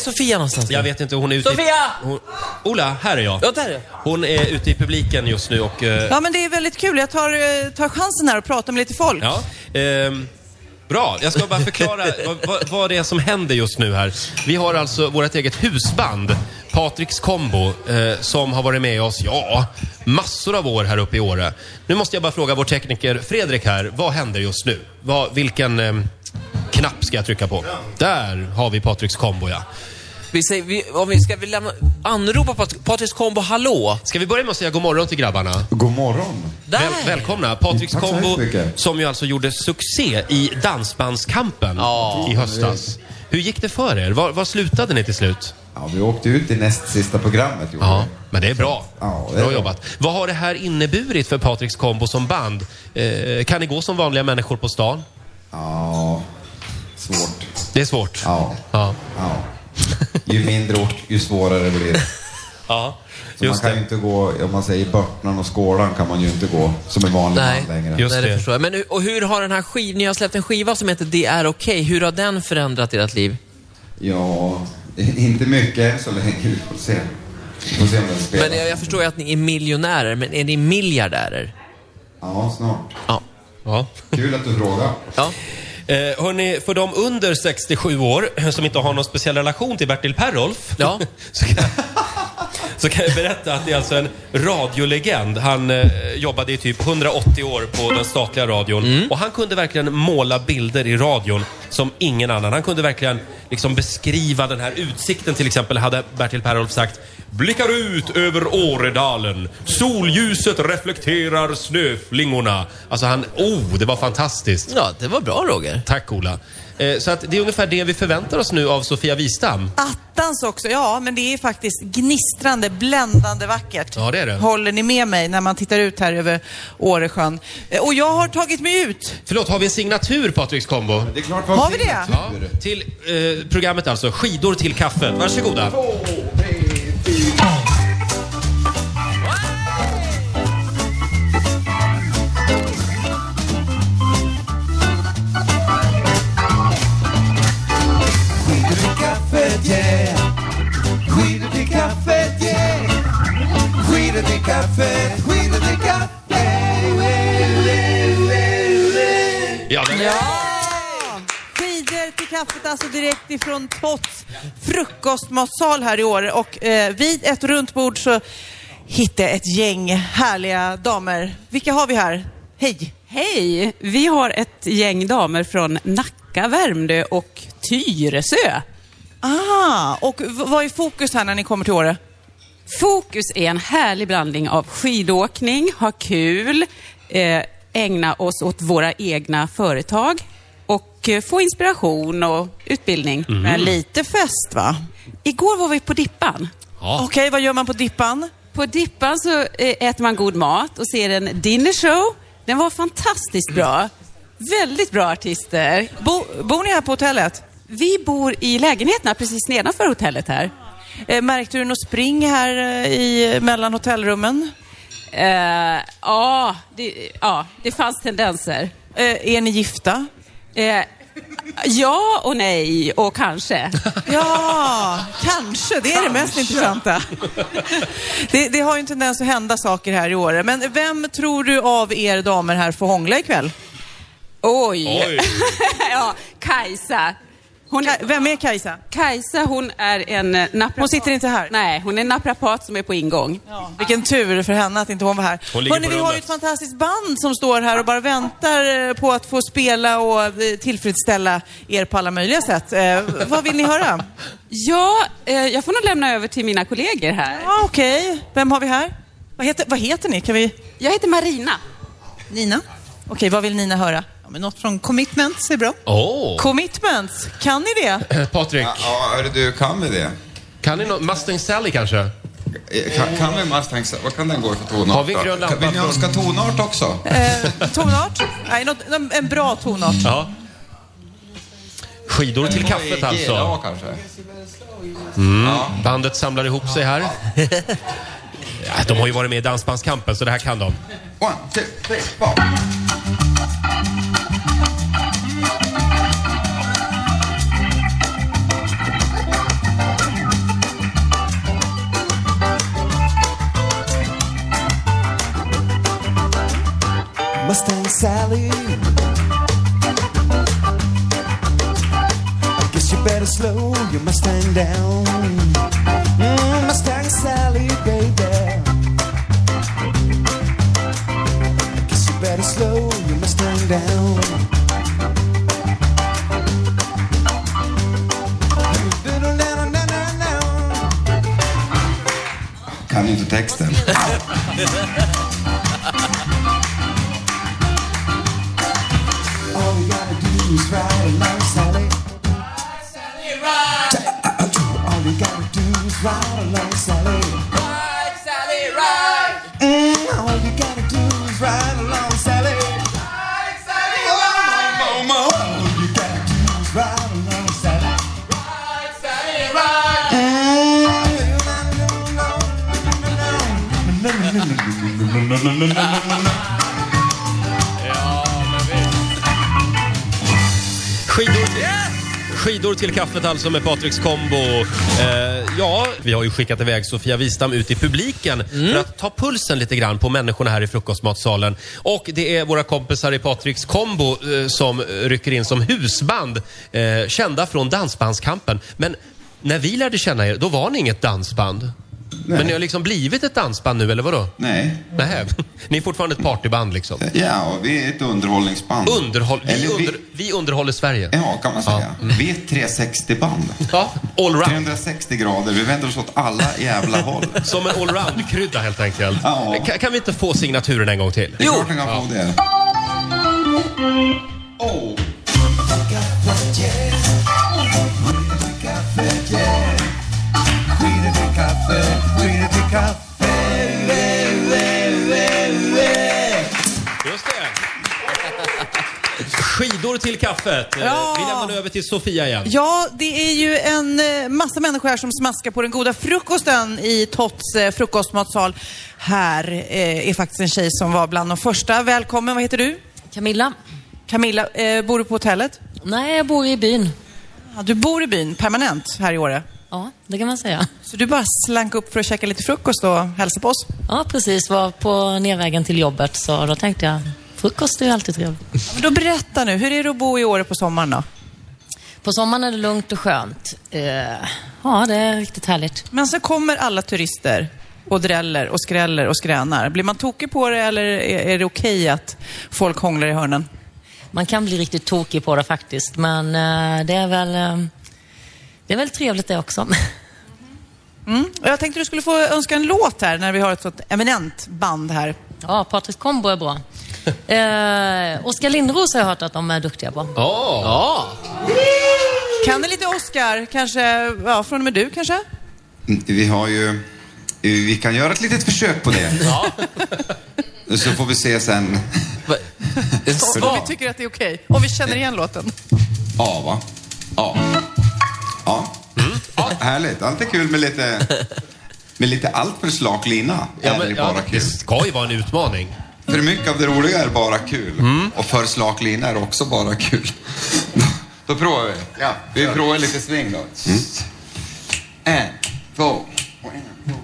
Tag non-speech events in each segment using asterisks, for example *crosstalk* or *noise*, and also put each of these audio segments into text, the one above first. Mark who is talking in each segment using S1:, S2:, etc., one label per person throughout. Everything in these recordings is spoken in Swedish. S1: Sofia någonstans?
S2: Jag vet inte, hon är ute
S1: Sofia!
S2: I... Hon... Ola, här är jag.
S1: Ja, där är jag.
S2: Hon är ute i publiken just nu och... eh,
S3: Ja, men det är väldigt kul. Jag tar, eh, tar chansen här och pratar med lite folk.
S2: Ja. ehm, bra, jag ska bara förklara vad, vad, vad det är som händer just nu här. Vi har alltså vårt eget husband, Patriks Combo, eh, som har varit med oss, ja, massor av år här uppe i Åre. Nu måste jag bara fråga vår tekniker Fredrik här, vad händer just nu? Vad, vilken ehm, knapp ska jag trycka på? Där har vi Patriks Combo, ja.
S1: Vi säger, vi, om vi ska vi lämna, anropa Pat- Patriks kombo hallå?
S2: Ska vi börja med att säga god morgon till grabbarna?
S4: God morgon.
S1: Där!
S2: Väl, välkomna! Patriks
S4: Tack så hemskt
S2: Combo,
S4: mycket.
S2: som ju alltså gjorde succé i Dansbandskampen
S1: Ja.
S2: i höstas. Hur gick det för er? Var, var slutade ni till slut?
S4: Ja, vi åkte ut i näst sista programmet. gjorde
S2: Ja,
S4: vi.
S2: men det är bra.
S4: Ja, det är
S2: bra
S4: bra.
S2: jobbat. Vad har det här inneburit för Patriks Combo som band? Eh, kan ni gå som vanliga människor på stan?
S4: Ja, svårt.
S2: Det är svårt.
S4: Ja.
S2: Ja.
S4: ja. Ju mindre ort, ju svårare blir det.
S2: Ja,
S4: Så man
S2: just
S4: kan ju
S2: det.
S4: inte gå, om man säger Börtnan och Skålan kan man ju inte gå som en vanlig
S1: Nej,
S4: man längre.
S2: Just
S1: Nej,
S2: det.
S1: det förstår jag. Men hur- och hur har den här skivan, ni har släppt en skiva som heter Det är okej, hur har den förändrat ert liv?
S4: Ja, inte mycket än så länge. Vi får se. Vi får se om den spelar.
S1: Men jag, jag förstår ju att ni är miljonärer, men är ni miljardärer?
S4: Ja, snart.
S1: Ja.
S2: Ja.
S4: Kul att du frågar.
S1: ja.
S2: Eh, hörni, för de under 67 år eh, som inte har någon speciell relation till Bertil Perolf
S1: Ja.
S2: *laughs* så, kan, så kan jag berätta att det är alltså en radiolegend. Han eh, jobbade i typ 180 år på den statliga radion och han kunde verkligen måla bilder i radion som ingen annan. Han kunde verkligen liksom beskriva den här utsikten till exempel hade Bertil Perolf sagt Blickar ut över Åredalen. Solljuset reflekterar snöflingorna. Alltså han, oh, det var fantastiskt.
S1: ja, det var bra Roger.
S2: Tack Ola. Eh, Så att det är ungefär det vi förväntar oss nu av Sofia Wistam.
S3: Attans också. Ja, men det är faktiskt gnistrande, bländande vackert.
S2: Ja, det är det.
S3: Håller ni med mig när man tittar ut här över Åresjön? Eh, Och jag har tagit mig ut.
S2: Förlåt, har vi en signatur Patriks Combo?
S4: Det är klart
S3: Har vi det?
S2: Ja, till eh, programmet alltså. Skidor till kaffet. Varsågoda.
S4: Skidor till kaffet, yeah. Skidor till kaffet, yeah. Skidor till kaffet, skidor till kaffet.
S2: Ja, den,
S3: Ja! Skidor till kaffet, alltså direkt ifrån Tots frukostmatsal här i år. Och eh, vid ett runt bord så hittade jag ett gäng härliga damer. Vilka har vi här? Hej!
S5: Hej! Vi har ett gäng damer från Nacka, Värmdö och Tyresö.
S3: Ah, och v- vad är fokus här när ni kommer till Åre?
S5: Fokus är en härlig blandning av skidåkning, ha kul, eh, ägna oss åt våra egna företag och eh, få inspiration och utbildning.
S3: Men lite fest va?
S5: Igår var vi på Dippan.
S2: ja.
S3: Okej, vad gör man på Dippan?
S5: På Dippan så eh, äter man god mat och ser en dinnershow. Den var fantastiskt bra. Väldigt bra artister.
S3: Bo, bor ni här på hotellet?
S5: Vi bor i lägenheterna precis nedanför hotellet här.
S3: Eh, märkte du något spring här eh, i, mellan hotellrummen?
S5: Eh, ja, det, ja, det fanns tendenser.
S3: Eh, är ni gifta?
S5: Eh, ja och nej och kanske.
S3: Ja, kanske. Det är det mest intressanta. Det, det har ju en tendens att hända saker här i år. Men vem tror du av er damer här får hångla ikväll?
S5: Oj!
S2: Oj.
S5: *laughs* ja, Kajsa. Hon
S3: Ka-
S5: är,
S3: Vem är Kajsa?
S5: Kajsa hon är en eh, naprapat.
S3: Hon sitter inte här?
S5: Nej, hon är en naprapat som är på ingång.
S3: Vilken tur för henne att inte hon var här.
S2: Hon ligger på
S3: vi har ju
S2: rummet.
S3: ett fantastiskt band som står här och bara väntar eh, på att få spela och eh, tillfredsställa er på alla möjliga sätt. Eh, vad vill
S2: *laughs*
S3: ni höra?
S5: Ja, eh, jag får nog lämna över till mina kollegor här.
S3: Ja, Okej, vem har vi här? Vad heter, vad heter ni? Kan vi...
S5: Jag heter Marina.
S6: Nina?
S3: Okej, vad vill Nina höra?
S6: Ja, men något från Commitments är bra.
S2: Åh.
S3: Commitments, kan ni det?
S2: Eh, Patrik,
S4: Ja, hörru du, kan vi det?
S2: kan ni någon Mustang Sally kanske?
S4: Eh, Kan, kan vi Mustang, vad kan den gå i för tonart?
S2: Har vi
S4: då?
S2: grön lampa
S4: Vill ni
S2: från-
S4: önska tonart också?
S3: Eh, tonart? Nej, något, en- en bra tonart.
S2: Ja. Skidor till kaffet
S4: GLA
S2: alltså.
S4: kanske?
S2: Bandet samlar ihop sig här. Ja, de har ju varit med i Dansbandskampen så det här kan de.
S4: One, two, three, four. Mustang Sally. I guess you better slow your Mustang down. Mm, Mustang Sally, baby. I guess you better slow your Mustang down.
S7: Kan inte texten.
S4: All you gotta do is ride along, Sally. All you gotta do is ride along, Sally. Ride, Sally, ride. Mm, all you gotta do is ride along, Sally. Ride, Sally, ride. All you gotta do is ride along, Sally. Ride, Sally, ride. Mm, no, no, no, no, no, no, no, no, no, no, no.
S2: Skidor till, skidor till kaffet alltså med Patriks kombo. Eh, ja, vi har ju skickat iväg Sofia Wistam ut i publiken för att ta pulsen lite grann på människorna här i frukostmatsalen. Och det är våra kompisar i Patriks kombo eh, som eh, rycker in som husband, eh, kända från Dansbandskampen. Men när vi lärde känna er, då var ni inget dansband. Men ni har liksom blivit ett dansband nu, eller vadå?
S7: Nej.
S2: Nej, *laughs* ni är fortfarande ett partyband liksom.
S7: Ja, och vi är ett underhållningsband.
S2: Underhåll, vi,
S7: Eh. Eller Eh.
S2: under, mm. vi underhåller Sverige.
S7: Ja, kan man säga. Vi är ett 360-band.
S2: Ja, allround.
S7: 360 grader. Vi vänder oss åt alla jävla håll.
S2: Som en allround-krydda helt enkelt.
S7: Ja.
S2: Ka- Kan vi inte få signaturen en gång till?
S7: Det är klart han kan få det.
S4: Oh.
S2: Just det. Skidor till kaffet. Eh,
S3: Ja.
S2: Vi lämnar över till Sofia igen.
S3: Ja, det är ju en eh, massa människor här som smaskar på den goda frukosten i Tots eh, frukostmatsal. Här eh, är faktiskt en tjej som var bland de första. Välkommen, vad heter du?
S8: Camilla?
S3: Camilla, eh, bor du på hotellet?
S8: Nej, jag bor i byn.
S3: Ja, du bor i byn permanent här i Åre.
S8: Ja, det kan man säga.
S3: Så du bara slank upp för att käka lite frukost och hälsa på oss?
S8: Ja, precis. Var på nedvägen till jobbet, så då tänkte jag, frukost är ju alltid trevligt.
S3: Ja, men då berätta nu, hur är det att bo i Åre på sommaren då?
S8: På sommaren är det lugnt och skönt. Eh, ja, det är riktigt härligt.
S3: Men sen kommer alla turister och dräller och skräller och skränar. Blir man tokig på det eller är, är det okej att folk hånglar i hörnen?
S8: Man kan bli riktigt tokig på det faktiskt, men eh, det är väl... eh, det är väl trevligt det också. *laughs*
S3: Mm. Och Jag tänkte du skulle få önska en låt här när vi har ett sånt eminent band här.
S8: Ja, Patrik Combo är *laughs* bra. Eh, Oskar Lindros har jag hört att de är duktiga på.
S2: Ja.
S3: Kan det lite Oscar, kanske, ja, från och med du kanske?
S7: Vi har ju... Vi kan göra ett litet försök på det. Så får vi se sen.
S1: Va?
S3: Om vi tycker att det är okej, om vi känner igen låten.
S7: Ja, va? Ja. Ja.
S2: Mm.
S7: ja. Härligt. Alltid kul med lite... Med lite allt för slak lina
S2: Ja,
S7: är
S2: men,
S7: det bara
S2: ja, det
S7: kul.
S2: ska ju vara en utmaning.
S7: För mycket av det roliga är bara kul.
S2: Mm.
S7: Och för slak lina är också bara kul. *laughs* då provar vi. Ja, vi provar lite sving då.
S2: Mm.
S7: En, två. och en, två.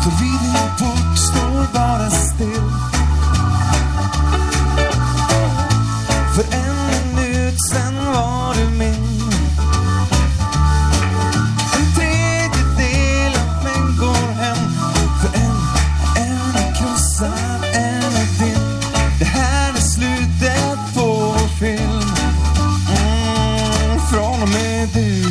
S4: Står vid din port, står bara still För en minut sen var du min En tredjedel av mig går hem För en, en är krossad, en är din Det här är slutet på vår film mm, Från och med du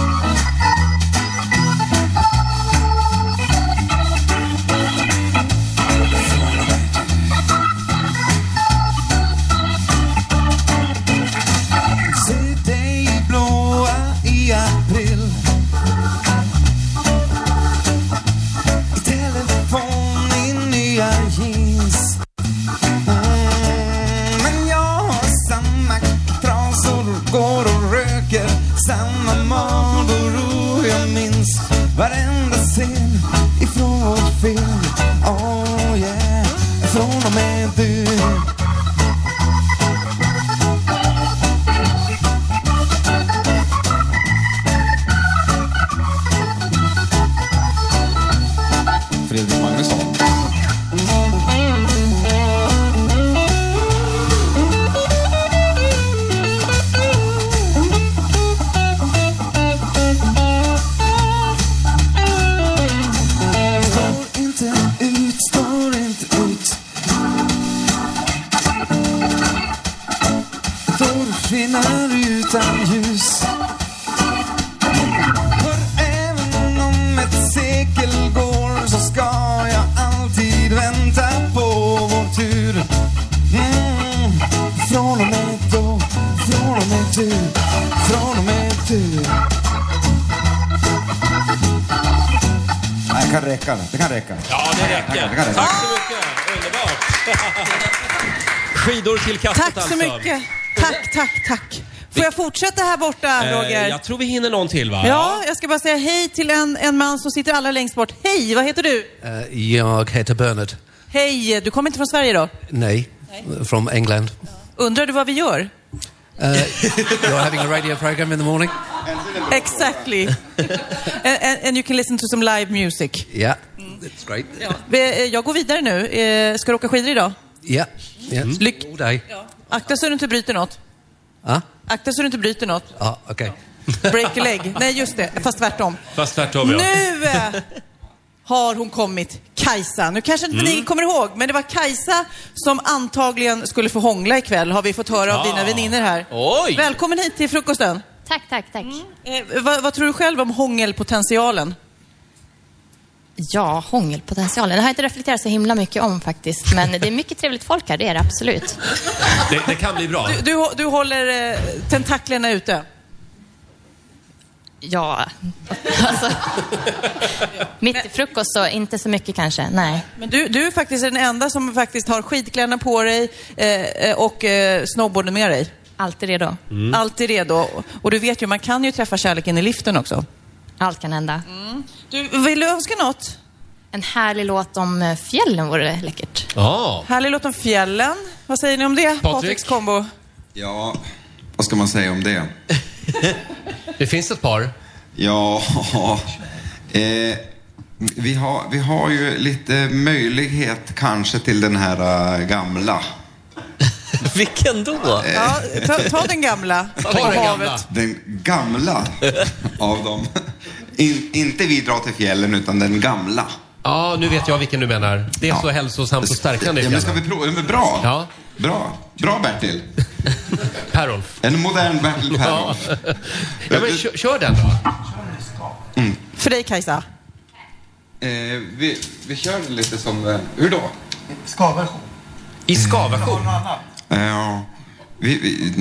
S4: Se dig blåa i april I telefon i nya jeans mm, Men jag har samma trasor, går och röker Samma magor och jag minns varenda scen ifrån vår film Oh yeah, från och med du kvinnan utan ljus. För även om ett sekel går så ska jag alltid vänta på vår tur. Mm. Från och med då, från och med du, från och med du. Nej, Det kan räcka, det kan räcka.
S2: Ja, det räcker.
S4: Det kan räcka.
S2: Tack så mycket. Underbart. *laughs* Skidor till kastet
S3: Tack så
S2: alltså.
S3: mycket. Tack, tack, tack. Får jag fortsätta här borta,
S2: Eh,
S3: Roger?
S2: Jag tror vi hinner någon till va?
S3: Ja, jag ska bara säga hej till en, en man som sitter allra längst bort. Hej, vad heter du?
S9: Eh, jag heter Bernard.
S3: Hej, du kommer inte från Sverige då?
S9: Nej, from England.
S3: Undrar du vad vi gör?
S9: *laughs* You're having a radio program in the morning?
S3: Exactly. and, and, and you can listen to some live music.
S9: Yeah, it's great. Yeah,
S3: Vi- eh, Jag går vidare nu. Eh, Ska du åka skidor idag?
S9: yeah.
S1: Mm.
S9: it's All day.
S3: Akta så du inte bryter något.
S9: Ah,
S3: Akta så du inte bryter något.
S9: ah okay.
S3: Break a leg. Nej, just det. Fast tvärtom.
S2: Fast tvärtom ja.
S3: Nu eh, har hon kommit, Kajsa. Nu kanske inte ni kommer ihåg, men det var Kajsa som antagligen skulle få hångla ikväll, har vi fått höra av dina vänner här.
S1: Oj.
S3: Välkommen hit till frukosten.
S10: Tack, tack, tack.
S3: Eh, vad, vad tror du själv om hångelpotentialen?
S10: Ja, hångelpotentialen. Det har jag inte reflekterat så himla mycket om faktiskt. Men det är mycket trevligt folk här, det är det absolut.
S2: Det, det kan bli bra.
S3: Du, du, hå- du håller eh, tentaklerna ute.
S10: Ja, alltså. Mitt i frukost så inte så mycket kanske. Nej.
S3: Men du, du är faktiskt den enda som faktiskt har skidkläderna på dig eh, eh, och eh, snowboarden med dig.
S10: Alltid redo.
S3: Alltid redo. Och du vet ju, man kan ju träffa kärleken i liften också.
S10: Allt kan hända.
S3: Du, vill du önska något?
S10: En härlig låt om eh, fjällen vore läckert.
S2: Ja.
S3: Härlig låt om fjällen. Vad säger ni om det? Patriks
S2: Eh.
S3: kombo.
S7: Ja, vad ska man säga om det?
S9: Det finns ett par.
S7: Ja, *laughs* eh, vi, har, vi har ju lite möjlighet kanske till den här eh, gamla.
S1: Vilken då?
S3: Ja, ta, ta den gamla.
S9: Ta den gamla.
S7: Den gamla av dem. In, inte vi drar till fjällen, utan den gamla.
S2: Ja, nu vet jag vilken du menar. Det är så hälsosamt och stärkande i
S7: Ja, men ska vi
S2: fjällen.
S7: prova? Ja, men bra.
S2: Ja.
S7: Bra. Bra Bertil.
S2: Perolf.
S7: En modern Bertil
S2: Ja.
S7: Päron.
S2: ja, men kör, kör den då.
S3: För dig Kajsa.
S7: Eh, vi, vi kör lite som... eh, Hur då?
S4: Skavversion.
S2: I ska-version.
S7: Eh, Ja, vi, vi,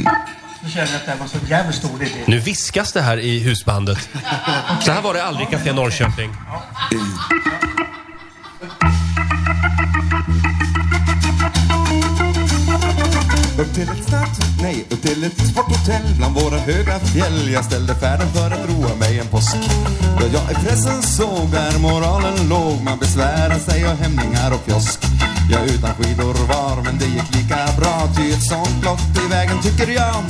S4: Nu känner jag att det här var så jävligt stor idé.
S2: Nu viskas det här i husbandet. Så här var det aldrig i Café Norrköping.
S4: Upp till ett snabbt, nej, upp till ett svart hotell bland våra höga fjäll. Jag ställde färden för att roa mig en påsk. Då jag i pressen såg där moralen låg. Man besvärar sig och hämningar och kiosk. Jag utan skidor var, men det gick lika bra. Ty ett sånt blott i vägen tycker jag.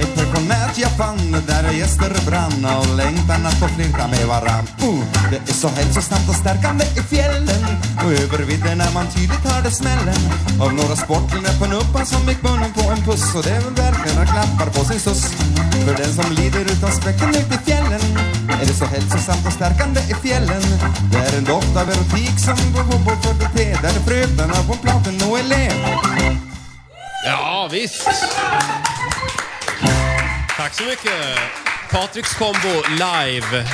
S4: Ett pensionärt jag fann där gäster brann och längtan att få flirta med varann. Uh, det är så hälsosamt och stärkande i fjällen och över vidden när man tydligt hörde smällen av några sportlingar på en uppan som gick munnen på en puss och det är väl verkligen att klappar på sin suss. För den som lider utan späcken ut i fjällen är det så hälsosamt och stärkande i fjällen. Det är en doft av erotik som går på vårt 43 där är fröknarna på platen och är len.
S2: Ja, visst. Tack så mycket. Patriks kombo live.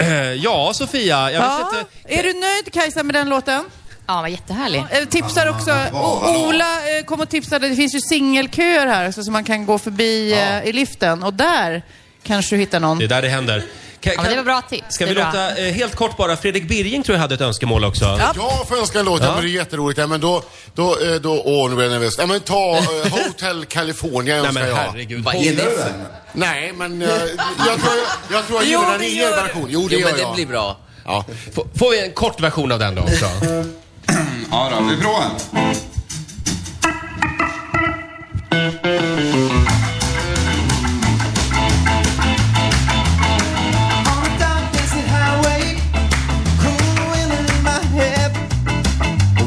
S2: Eh, Ja, Sofia. Jag vet
S3: Ja.
S2: inte.
S3: Är du nöjd Kajsa med den låten?
S10: Ja, vad jättehärlig.
S3: Eh, Tipsar också. O- Ola eh, kom och tipsade. Det finns ju singelköer här så som man kan gå förbi eh, i liften och där kanske du hittar någon.
S2: Det är där det händer. Kan-
S10: men det
S2: kan-
S10: var bra tips.
S2: Ska
S10: Det
S2: vi
S10: är bra.
S2: låta, eh, helt kort bara, Fredrik Birging tror jag hade ett önskemål också.
S11: Jag får önska en låt, ja. men det är jätteroligt. Ja, men då, då, eh, då, åh nu blir jag nervös. Ja, men ta eh, Hotel California
S2: Nej
S11: önskar
S2: men
S11: jag.
S2: herregud.
S1: Vad är det för...
S11: Nej, men eh, jag tror jag, jag, tror jag
S3: Jo,
S11: gillar den
S3: det
S11: i
S3: gör
S11: er
S3: det.
S11: version. Jo, det
S1: Jo,
S11: gör
S1: men det
S11: jag.
S1: blir
S3: *laughs*
S1: bra.
S11: Ja.
S2: F- Får vi en kort version av den då *laughs* också?
S7: ja då, vi provar.
S4: On a dark desert highway, cool wind in my head.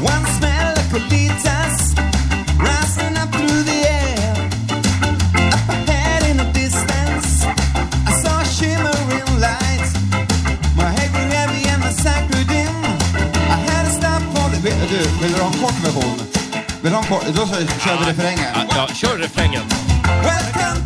S4: One smell of colitas rising up through the air. Up ahead in the distance, I saw a shimmering light. My head grew heavy and my sight grew dim. I had to stop for the... Vill du, vill du ha en kort version? Vill du ha en kort? Då kör vi refrängen.
S2: Ja, kör refrängen.
S4: Welcome Oh, Oh,